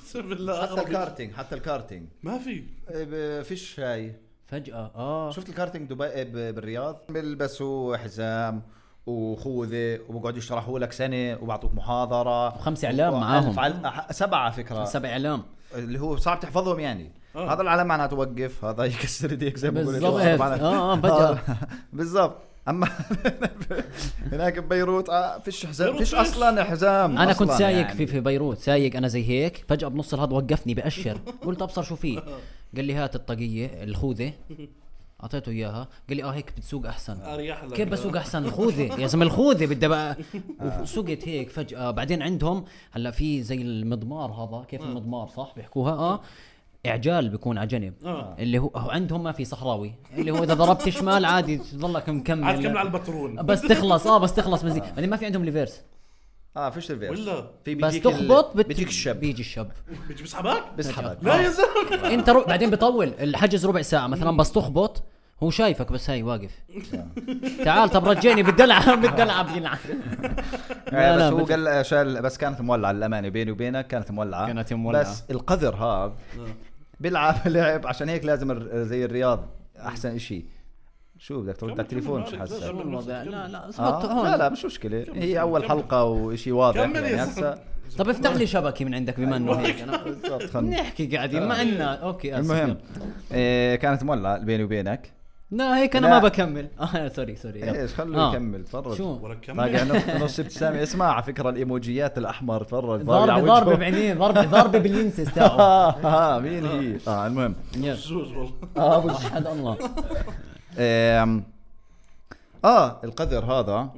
اقسم بالله حتى أغرب. الكارتينج حتى الكارتينج ما في آه، ب- فيش هاي فجاه اه شفت الكارتينج دبي إيه، ب- بالرياض بيلبسوا حزام وخوذه وبقعدوا يشرحوا لك سنه وبعطوك محاضره وخمس إعلام وألف معاهم. عل- أح- سبعه فكره سبع اعلام اللي هو صعب تحفظهم يعني آه. هذا العلم معناته توقف هذا يكسر ايديك زي ما بقول بالضبط. آه، آه، فجأة. بالضبط اما هناك ببيروت آه، فيش حزام بيروت فيش فيش. اصلا حزام انا كنت أصلاً سايق يعني. في في بيروت سايق انا زي هيك فجاه بنص الهاد وقفني باشر قلت ابصر شو فيه قال لي هات الطاقيه الخوذه اعطيته اياها قال لي اه هيك بتسوق احسن اريح لك كيف بسوق احسن الخوذه يا زلمه الخوذه بدي بقى آه، سقت هيك آه. فجاه بعدين عندهم هلا في زي المضمار هذا كيف المضمار صح بيحكوها اه اعجال بيكون على جنب اه اللي هو هو عندهم ما في صحراوي اللي هو اذا ضربت شمال عادي تضلك مكمل عاد كمل على آه. البترول بس تخلص اه بس تخلص بنزين بعدين ما في عندهم ليفيرس اه فيش ريفيرس ولا في بس بيجيك ال- تخبط بت- بيجيك الشاب بيجي الشب بيجي بيسحبك بسحبك لا آه. يا زلمه انت رو... بعدين بطول الحجز ربع ساعه مثلا بس تخبط هو شايفك بس هاي واقف تعال طب رجعني بالدلع بالدلع بيلعب لا، آه، بس لا، هو بت- قال آه، شال بس كانت مولعه للامانه بيني وبينك كانت مولعه كانت مولعة. آه. بس القذر هذا بيلعب لعب عشان هيك لازم الر- زي الرياض احسن شيء شو بدك ترد على التليفون شو حاسس كمل الوضع نفسك، لا كمل. لا اصبر آه، هون لا لا مش مشكله هي اول كمل. حلقه وشيء واضح كمل يعني يا هسه زلمه طب افتح لي شبكه من عندك بما انه هيك انا بالضبط، خلنا- نحكي قاعدين ما عندنا اوكي آسف. آه. المهم إيه، كانت مولعه بيني وبينك لا هيك انا لا. ما بكمل اه سوري سوري يلا. ايش خلوه آه. يكمل تفرج شو ولا طاقع كمل نص- نص ابتسامه اسمع على فكره الايموجيات الاحمر تفرج ضارب ضربه على ضربه وجهه. بعينيه ضربه ضربه باللينسز تاعه آه، آه، مين هي اه المهم يلا. بجوز والله اه ابو احد الله آم، اه القذر هذا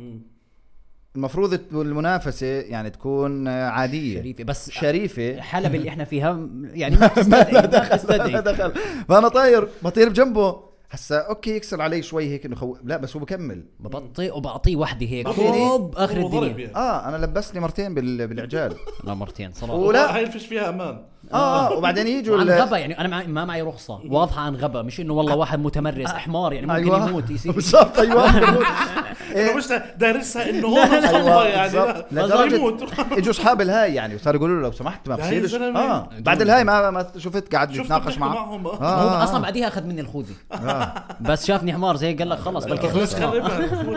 المفروض الت- المنافسه يعني تكون آه، عاديه شريفه بس شريفه الحلبة اللي احنا فيها يعني ما تستدعي ما ما تستدعي دخل فانا طاير بطير بجنبه هسا اوكي يكسر علي شوي هيك انه خو... لا بس هو بكمل ببطئ وبعطيه وحده هيك أوه، ضرب اخر أوه، ضرب الدنيا آه، يعني. اه انا لبسني مرتين بال... بالعجال لا مرتين صراحه ولا ولا هاي الفش فيها امان اه آه، وبعدين يجوا عن ال- غبا يعني انا معي ما معي رخصه واضحه عن غبا مش انه والله واحد متمرس حمار يعني ممكن أيوة. يموت يصير أيوه. بالضبط ايوه يموت. انا إيه، مش دارسها انه هون خطه يعني أيوة، بالضبط. لا لدرجة- لازم يموت اجوا اصحاب الهاي يعني وصاروا يقولوا له لو سمحت ما لا يا بصيرش زلمة. اه بعد الهاي ما, ما شفت قاعد شفت يتناقش بتحكوا معه معهم آه. آه. هو اصلا بعديها اخذ مني الخوذه بس شافني حمار زي قال لك خلص بلكي بس خلصنا خربها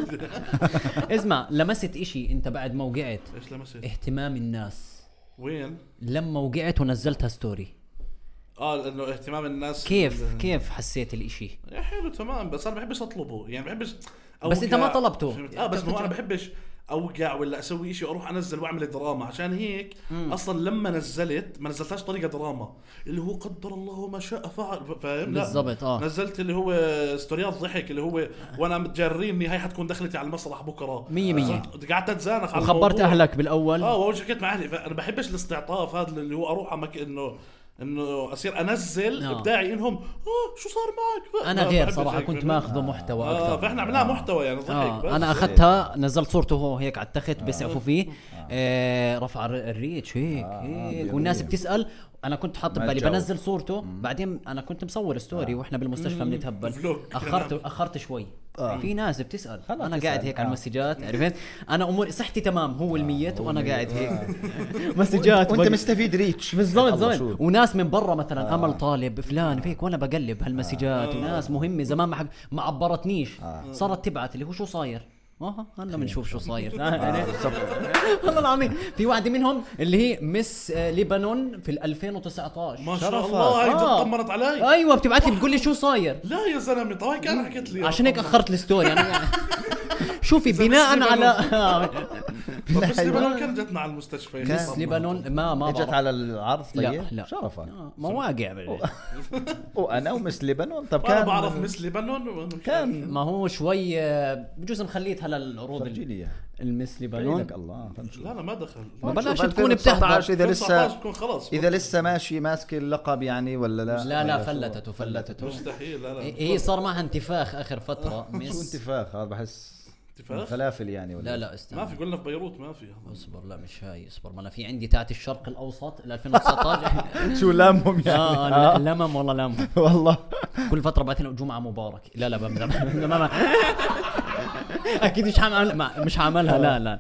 اسمع لمست إشي انت بعد ما وقعت ايش لمست اهتمام الناس وين لما وقعت ونزلتها ستوري اه لانه اهتمام الناس كيف كيف حسيت الإشي يا حلو تمام بس انا بحبش اطلبه يعني بحبش بس أنت ما طلبته. فهمت؟ اه بس ما هو انا بحبش اوقع ولا اسوي شيء اروح انزل واعمل دراما عشان هيك اصلا لما نزلت ما نزلتهاش طريقه دراما اللي هو قدر الله ما شاء فعل فاهم لا. بالضبط، آه. نزلت اللي هو ستوريات ضحك اللي هو وانا متجريني هاي حتكون دخلتي على المسرح بكره مية مية. صرت- قعدت اتزانخ على وخبرت الموضوع. اهلك بالاول اه واول حكيت مع اهلي فانا بحبش الاستعطاف هذا اللي هو اروح على مك... انه انه اصير انزل آه. ابداعي انهم اه شو صار معك انا ما غير بحبش صراحه هيك، كنت فاهم؟ ماخذه محتوى اه اكثر فاحنا عملناها محتوى يعني ضحك بس آه انا اخذتها نزلت صورته هو هيك على التخت بيسعفوا فيه آه رفع الر- الريتش هيك آه، هيك بيضيع. والناس بتسال انا كنت حاط ما آه. ببالي الجو. بنزل صورته بعدين انا كنت مصور ستوري واحنا بالمستشفى بنتهبل فلوج. اخرت اخرت شوي آه. في ناس بتسال خلاص انا تسأل. قاعد هيك على آه. المسجات عرفت انا اموري صحتي تمام هو الميت وانا قاعد هيك آه. مسجات وانت بقى- مستفيد ريتش بالضبط الله، زين شو. وناس من برا مثلا آه. امل طالب فلان فيك وانا بقلب هالمسجات آه. وناس مهمه زمان ما حق ما عبرتنيش آه. صارت تبعت اللي هو شو صاير اه هلا بنشوف شو صاير آه، يعني- والله العظيم في واحده منهم اللي هي مس آه، ليبانون في ال 2019 ما شاء شرفها. الله هي آه. تطمرت علي ايوه بتبعت لي بتقول لي شو صاير لا يا زلمه طبعا كان حكيت لي عشان هيك اخرت الستوري انا شوفي بناء على طب بس لبنان كان جتنا على المستشفى يعني كان مس ليبانون ما ما اجت بعرف. على العرض طيب لا لا شرفك آه، مواقع بال- وانا ومس لبنان طب انا كان بعرف مس لبنان وأنا مش عارف. كان ما هو شوي آه، بجوز مخليت هلا العروض فرجي ال- لي اياها المس لبنان بعينك الله خلنا نشوف. لا لا ما دخل ما بلاش شوف تكون 2019 بتحضر. اذا 2019 لسه بكون خلاص اذا لسه ماشي ماسك اللقب يعني ولا لا لا لا ولا شو. فلتته فلتته مستحيل لا لا هي إيه، صار معها انتفاخ اخر فتره شو مس انتفاخ هذا بحس انتفاخ؟ فلافل يعني ولا لا لا ما استنى في قلنا في بيروت ما في اصبر لا مش هاي اصبر ما انا في عندي تاعت الشرق الاوسط ال 2019 شو لامهم يعني اه لا- لمم والله لمم والله كل فتره بعث لنا جمعه مبارك لا لا بمزح ما- ما- اكيد مش حعمل ما- مش حعملها لا لا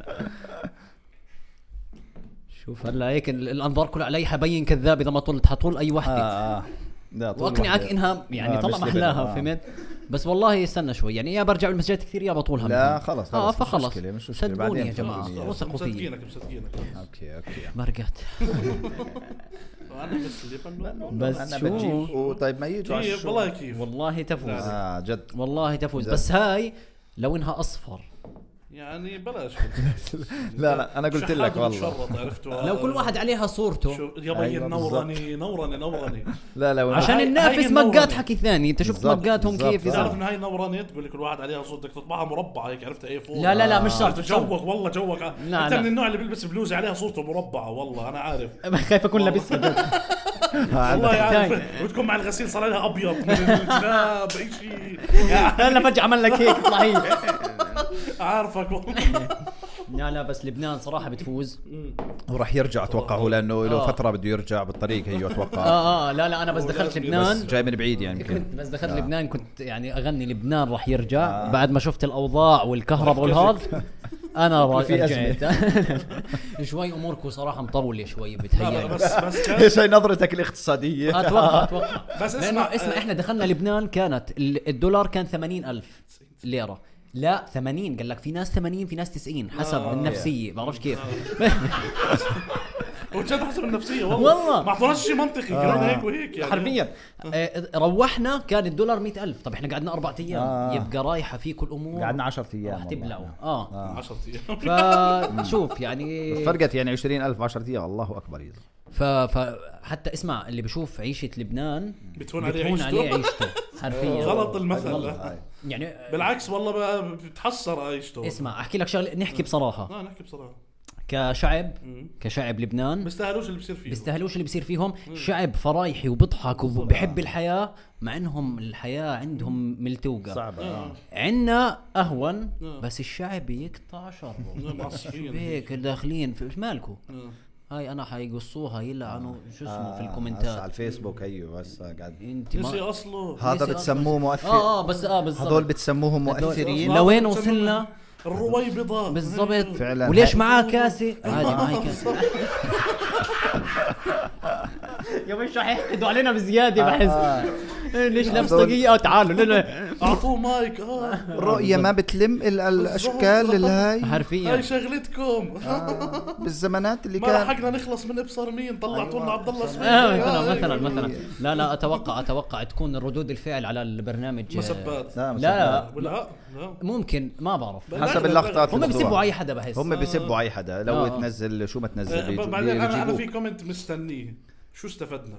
شوف هلا هيك ال- الانظار كلها علي حبين كذاب اذا ما طلت حطول اي اه وحده اه لا طول واقنعك وحدة. انها يعني آه، طلع مش محلاها لبن، آه. فهمت بس والله استنى شوي يعني يا برجع بالمسجات كثير يا بطولها لا منها. خلص اه خلص مش فخلص مشكلة، مش مشكلة، صدقوني بعدين يا خلص، جماعه خلص. وثقوا فيي مصدقينك مصدقينك اوكي اوكي مرقت انا بس لبنان بس انا شو؟ بجيب طيب ما يجوا على كيف الشو. إيه، والله كيف والله تفوز اه جد والله تفوز زين. بس هاي لو انها اصفر يعني بلاش لا لا انا قلت لك والله عرفتوا لو كل واحد عليها صورته شو يا بي أيوة نورني نورني نورني لا لا عشان هاي- هاي ننافس النورة. مقات حكي ثاني انت شفت بالضبط، مقاتهم بالضبط. كيف تعرف يصير ان هاي نوراني تقول لك كل واحد عليها صوت بدك تطبعها مربعه هيك عرفت اي فور لا لا لا مش عرفت شرط مش شرط. جوك والله جوك لا، انت لا. من النوع اللي بيلبس بلوزه عليها صورته مربعه والله انا عارف خايف اكون لابسها والله هذا يعني بتكون مع الغسيل صار لها ابيض من الجناب اي شيء هلا فجاه عمل لك هيك اطلع هي عارفك والله لا لا بس لبنان صراحه بتفوز وراح يرجع اتوقع هو لانه له آه. فتره بده يرجع بالطريق هي اتوقع اه اه لا لا انا بس دخلت بس لبنان جاي من بعيد يعني كنت يمكن بس دخلت آه. لبنان كنت يعني اغني لبنان راح يرجع آه. آه. بعد ما شفت الاوضاع والكهرباء والهذا انا را- في أزمة. رجعت شوي اموركم صراحه مطوله شوي لا، لا، بتهيألي بس بس كان- ايش هي نظرتك الاقتصاديه اتوقع اتوقع بس بس اسمع- اسمع اسمع آه. احنا دخلنا لبنان كانت ال- الدولار كان 80 الف ليره لا 80 قال لك في ناس 80 في ناس 90 حسب آه. النفسيه بعرفش كيف وجد حسب النفسيه والله والله. آه. ما اعطوناش شيء منطقي كلنا هيك وهيك يعني حرفيا آه، روحنا كان الدولار 100 الف طب احنا قعدنا اربع ايام آه. يبقى رايحه فيكم الامور قعدنا 10 ايام راح والله. تبلعوا اه 10 ايام فشوف يعني بس فرقت يعني 20000 ب 10 ايام الله اكبر يا زلمة. ف... فحتى اسمع اللي بشوف عيشه لبنان بتهون عليه بتهون عليه عيشته عيشته حرفيا غلط المثل والله. يعني بالعكس والله بقى بتحسر عيشته اسمع احكي لك شغله نحكي بصراحه لا نحكي بصراحه كشعب مم. كشعب لبنان بيستاهلوش اللي بصير فيه بيستاهلوش اللي بصير فيهم شعب فرايحي وبضحك وبحب الحياه مع انهم الحياه عندهم ملتوقه صعبه آه. آه. عنا اهون آه. بس الشعب يقطع شره معصبين. هيك داخلين في مالكم آه. هاي انا حيقصوها يلعنوا شو اسمه في هسا آه، على الكومنتات الفيسبوك ايوه بس قاعد انت نسي ما اصله هذا ليس بتسموه مؤثر اه اه بس اه بالضبط هذول بتسموهم هذول- مؤثرين لو- لوين وصلنا؟ الرويبضه بالضبط فعلاً. وليش هاي- معاه كاسه؟ عادي معي كاسه كان يا مش رح يحقدوا علينا بزياده آه. ليش لابس هذول- طاقيه؟ اه تعالوا لنا اعطوه مايك اه الرؤيه ما بتلم الا الاشكال الهاي هاي حرفيا شغلتكم آه. بالزمانات اللي ما كان لحقنا نخلص من ابصر مين طلعتوا لنا عبد الله سمير آه آه، مثلا هيك. مثلا مثلا لا لا اتوقع اتوقع تكون ردود الفعل على البرنامج آه، مسبات لا لا لا لا لا ممكن ما بعرف بل- حسب لا، لا، لا. اللقطات هم اللي بيسبوا بطلعوا. اي حدا بحس هم بيسبوا اي حدا لو آه. تنزل شو ما تنزل آه، بيجو- بعدين انا انا بيجيبوه. في كومنت مستنيه شو استفدنا؟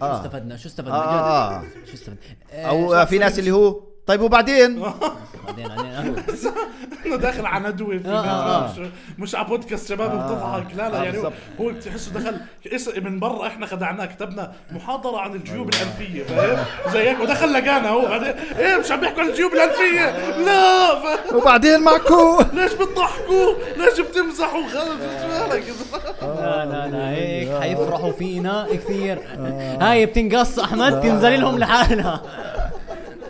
شو آه. استفدنا شو استفدنا آه. جد- شو استفدنا آه، او في ناس اللي هو طيب وبعدين بعدين بعدين- انا داخل على ندوه في آه، آه. مش, مش على بودكاست شباب بتضحك لا لا آه، يعني هو- بالضبط. هو بتحسه دخل اس- من برا احنا خدعناه كتبنا محاضره عن الجيوب أيوة. الانفيه فاهم؟ زي هيك ودخل لقانا هو بعدين ايه مش عم بيحكوا عن الجيوب الانفيه لا ف- وبعدين معكو ليش بتضحكوا؟ ليش بتمزحوا؟ خلص لا لا لا هيك حيفرحوا فينا كثير آه. هاي بتنقص احمد تنزل لهم لحالها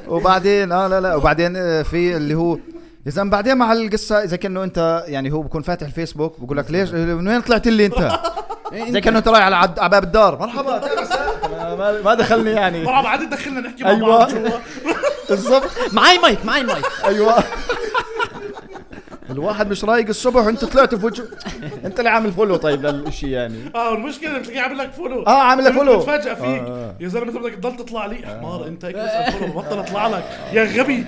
وبعدين اه لا لا وبعدين آه، في اللي هو يا زلمه بعدين مع القصه اذا كانه انت يعني هو بكون فاتح الفيسبوك بقول لك ليش من وين طلعت لي انت؟ زي كانه انت رايح على عد- على باب الدار مرحبا ما- ما دخلني يعني مرة بعدين دخلنا نحكي مع أيوة. بعض جوا بالضبط معي مايك معي مايك ايوه الواحد مش رايق الصبح وانت طلعت في وجهه انت اللي عامل فولو طيب للشيء يعني اه المشكله بتلاقيه عامل لك فولو آه، عامل لك بت- فولو. بتفاجئ آه، فيك آه. يا زلمه انت بدك تضل تطلع لي حمار انت هيك بس فولو بطل اطلع لك يا غبي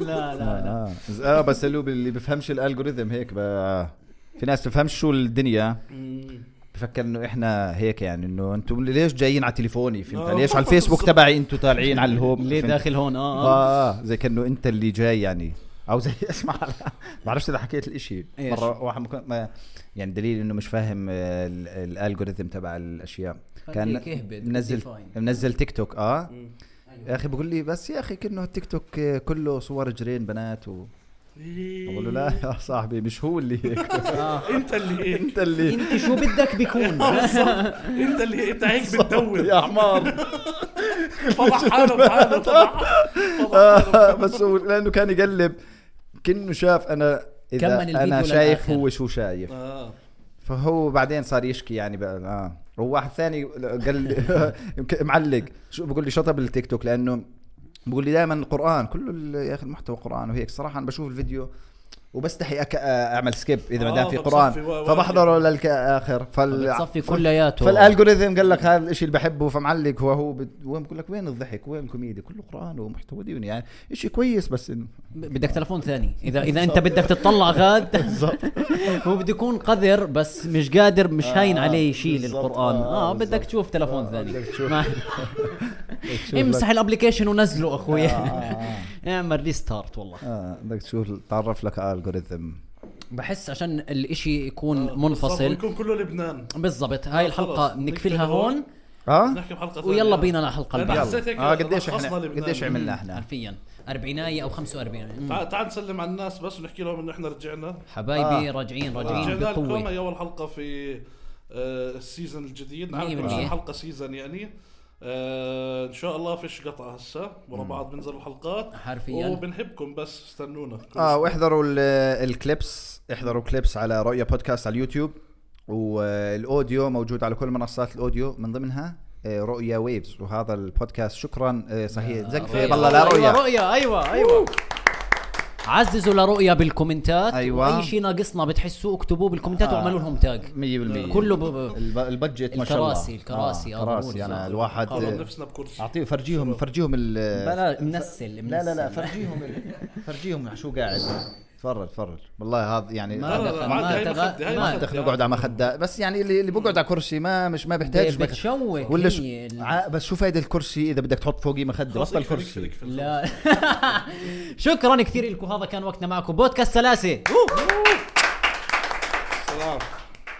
لا لا لا اه آه، بس اللي اللي بفهمش الالجوريثم هيك ب- في ناس بفهمش شو الدنيا بفكر انه احنا هيك يعني انه انتم ليش جايين على تليفوني فهمت آه. ليش على الفيسبوك تبعي انتم طالعين على الهوم ليه فهمت؟ داخل هون اه آه. اه اه زي كانه انت اللي جاي يعني او زي اسمع ما بعرفش اذا حكيت الاشي إيش؟ مره واحد ممكن ما يعني دليل انه مش فاهم آه، ال- الالجوريثم تبع الاشياء كان خليك اهبد، منزل define. منزل تيك توك اه يا اخي بقول لي بس يا اخي كانه التيك توك آه، كله صور جرين بنات و بقول له لا يا صاحبي مش هو اللي هيك انت اللي هيك انت اللي انت شو بدك بيكون انت اللي ايه؟ انت هيك بتدور يا حمار فضح حاله بحاله فضح آه، بس هو لانه كان يقلب كانه شاف انا كمل اذا الفيديو انا شايف للآخر. هو شو شايف آه. فهو بعدين صار يشكي يعني بقى اه وواحد ثاني قال لي- يمكن معلق شو بقول لي شطب التيك توك لانه بقول لي دائما القران كله ال- يا اخي المحتوى قران وهيك صراحه انا بشوف الفيديو وبستحي أك... اعمل سكيب اذا ما دام آه، في فبصفي قران و- و- فبحضره للاخر فال... بتصفي كلياته فالالجوريثم قال لك هذا الشيء اللي بحبه فمعلق هو هو بد... وين بقول لك وين الضحك وين الكوميديا كله قران ومحتوى ديني يعني شيء كويس بس انه بدك تلفون ثاني اذا اذا انت بدك تطلع غاد بالضبط آه، هو بده يكون قذر بس مش قادر مش هاين عليه شيء بالضبط. للقران آه، اه بدك بالضبط. تشوف تلفون آه، ثاني بدك تشوف. آه، ما- امسح الابلكيشن ونزله اخوي اعمل ريستارت والله اه بدك تشوف تعرف لك الجوريثم بحس عشان الاشي يكون آه، منفصل بالضبط، يكون كله لبنان بالضبط هاي آه، الحلقه خلص. بنقفلها نقفلها هون هون. اه نحكي بحلقه ثانية. ويلا بينا للحلقه لأن اللي بعدها حسيت هيك اه قديش لخصنا احنا لبنان. قديش عملنا احنا حرفيا أربعيناية آية أو 45 تعال تعال نسلم على الناس بس ونحكي لهم انه احنا رجعنا حبايبي آه. راجعين راجعين رجعنا لكم بقوة هي اول حلقه في آه، السيزون الجديد نعم مية كل بالمية. شي حلقه سيزون يعني آه، ان شاء الله فيش قطع هسه ورا بعض بنزل الحلقات حرفياً. وبنحبكم بس استنونا كل اه واحضروا ال- الكليبس احضروا كليبس على رؤيا بودكاست على اليوتيوب والاوديو موجود على كل منصات الاوديو من ضمنها آه، رؤيا ويفز وهذا البودكاست شكرا آه، صحيح زقفه بالله لا أيوة، رؤيا رؤيا ايوه ايوه عززوا لرؤيا بالكومنتات أيوة. اي شيء ناقصنا بتحسوه اكتبوه بالكومنتات آه. واعملوا لهم تاج 100% كله ب- ب- الب- البادجت ما شاء الله الكراسي- الكراسي، آه آه، كراسي بالضبط. انا الواحد قالوا آه، نفسنا بكرسي اعطيه فرجيهم فرجيهم ال بلا منسل لا لا لا منسل. فرجيهم ال- فرجيهم شو قاعد تفرج تفرج والله هذا يعني ما لا، لا، دخل عادي، ما هاي تغ... مخدة، هاي ما مخدة. دخل اقعد على مخده بس يعني اللي اللي بقعد على كرسي ما مش ما بيحتاج بت- بتشوك ولا هي شو ال- ع- بس شو فايده الكرسي اذا بدك تحط فوقي مخده خلاص بطل اقفل، كرسي اقفل، اقفل. لا شكرا كثير لكم هذا كان وقتنا معكم بودكاست سلاسه سلام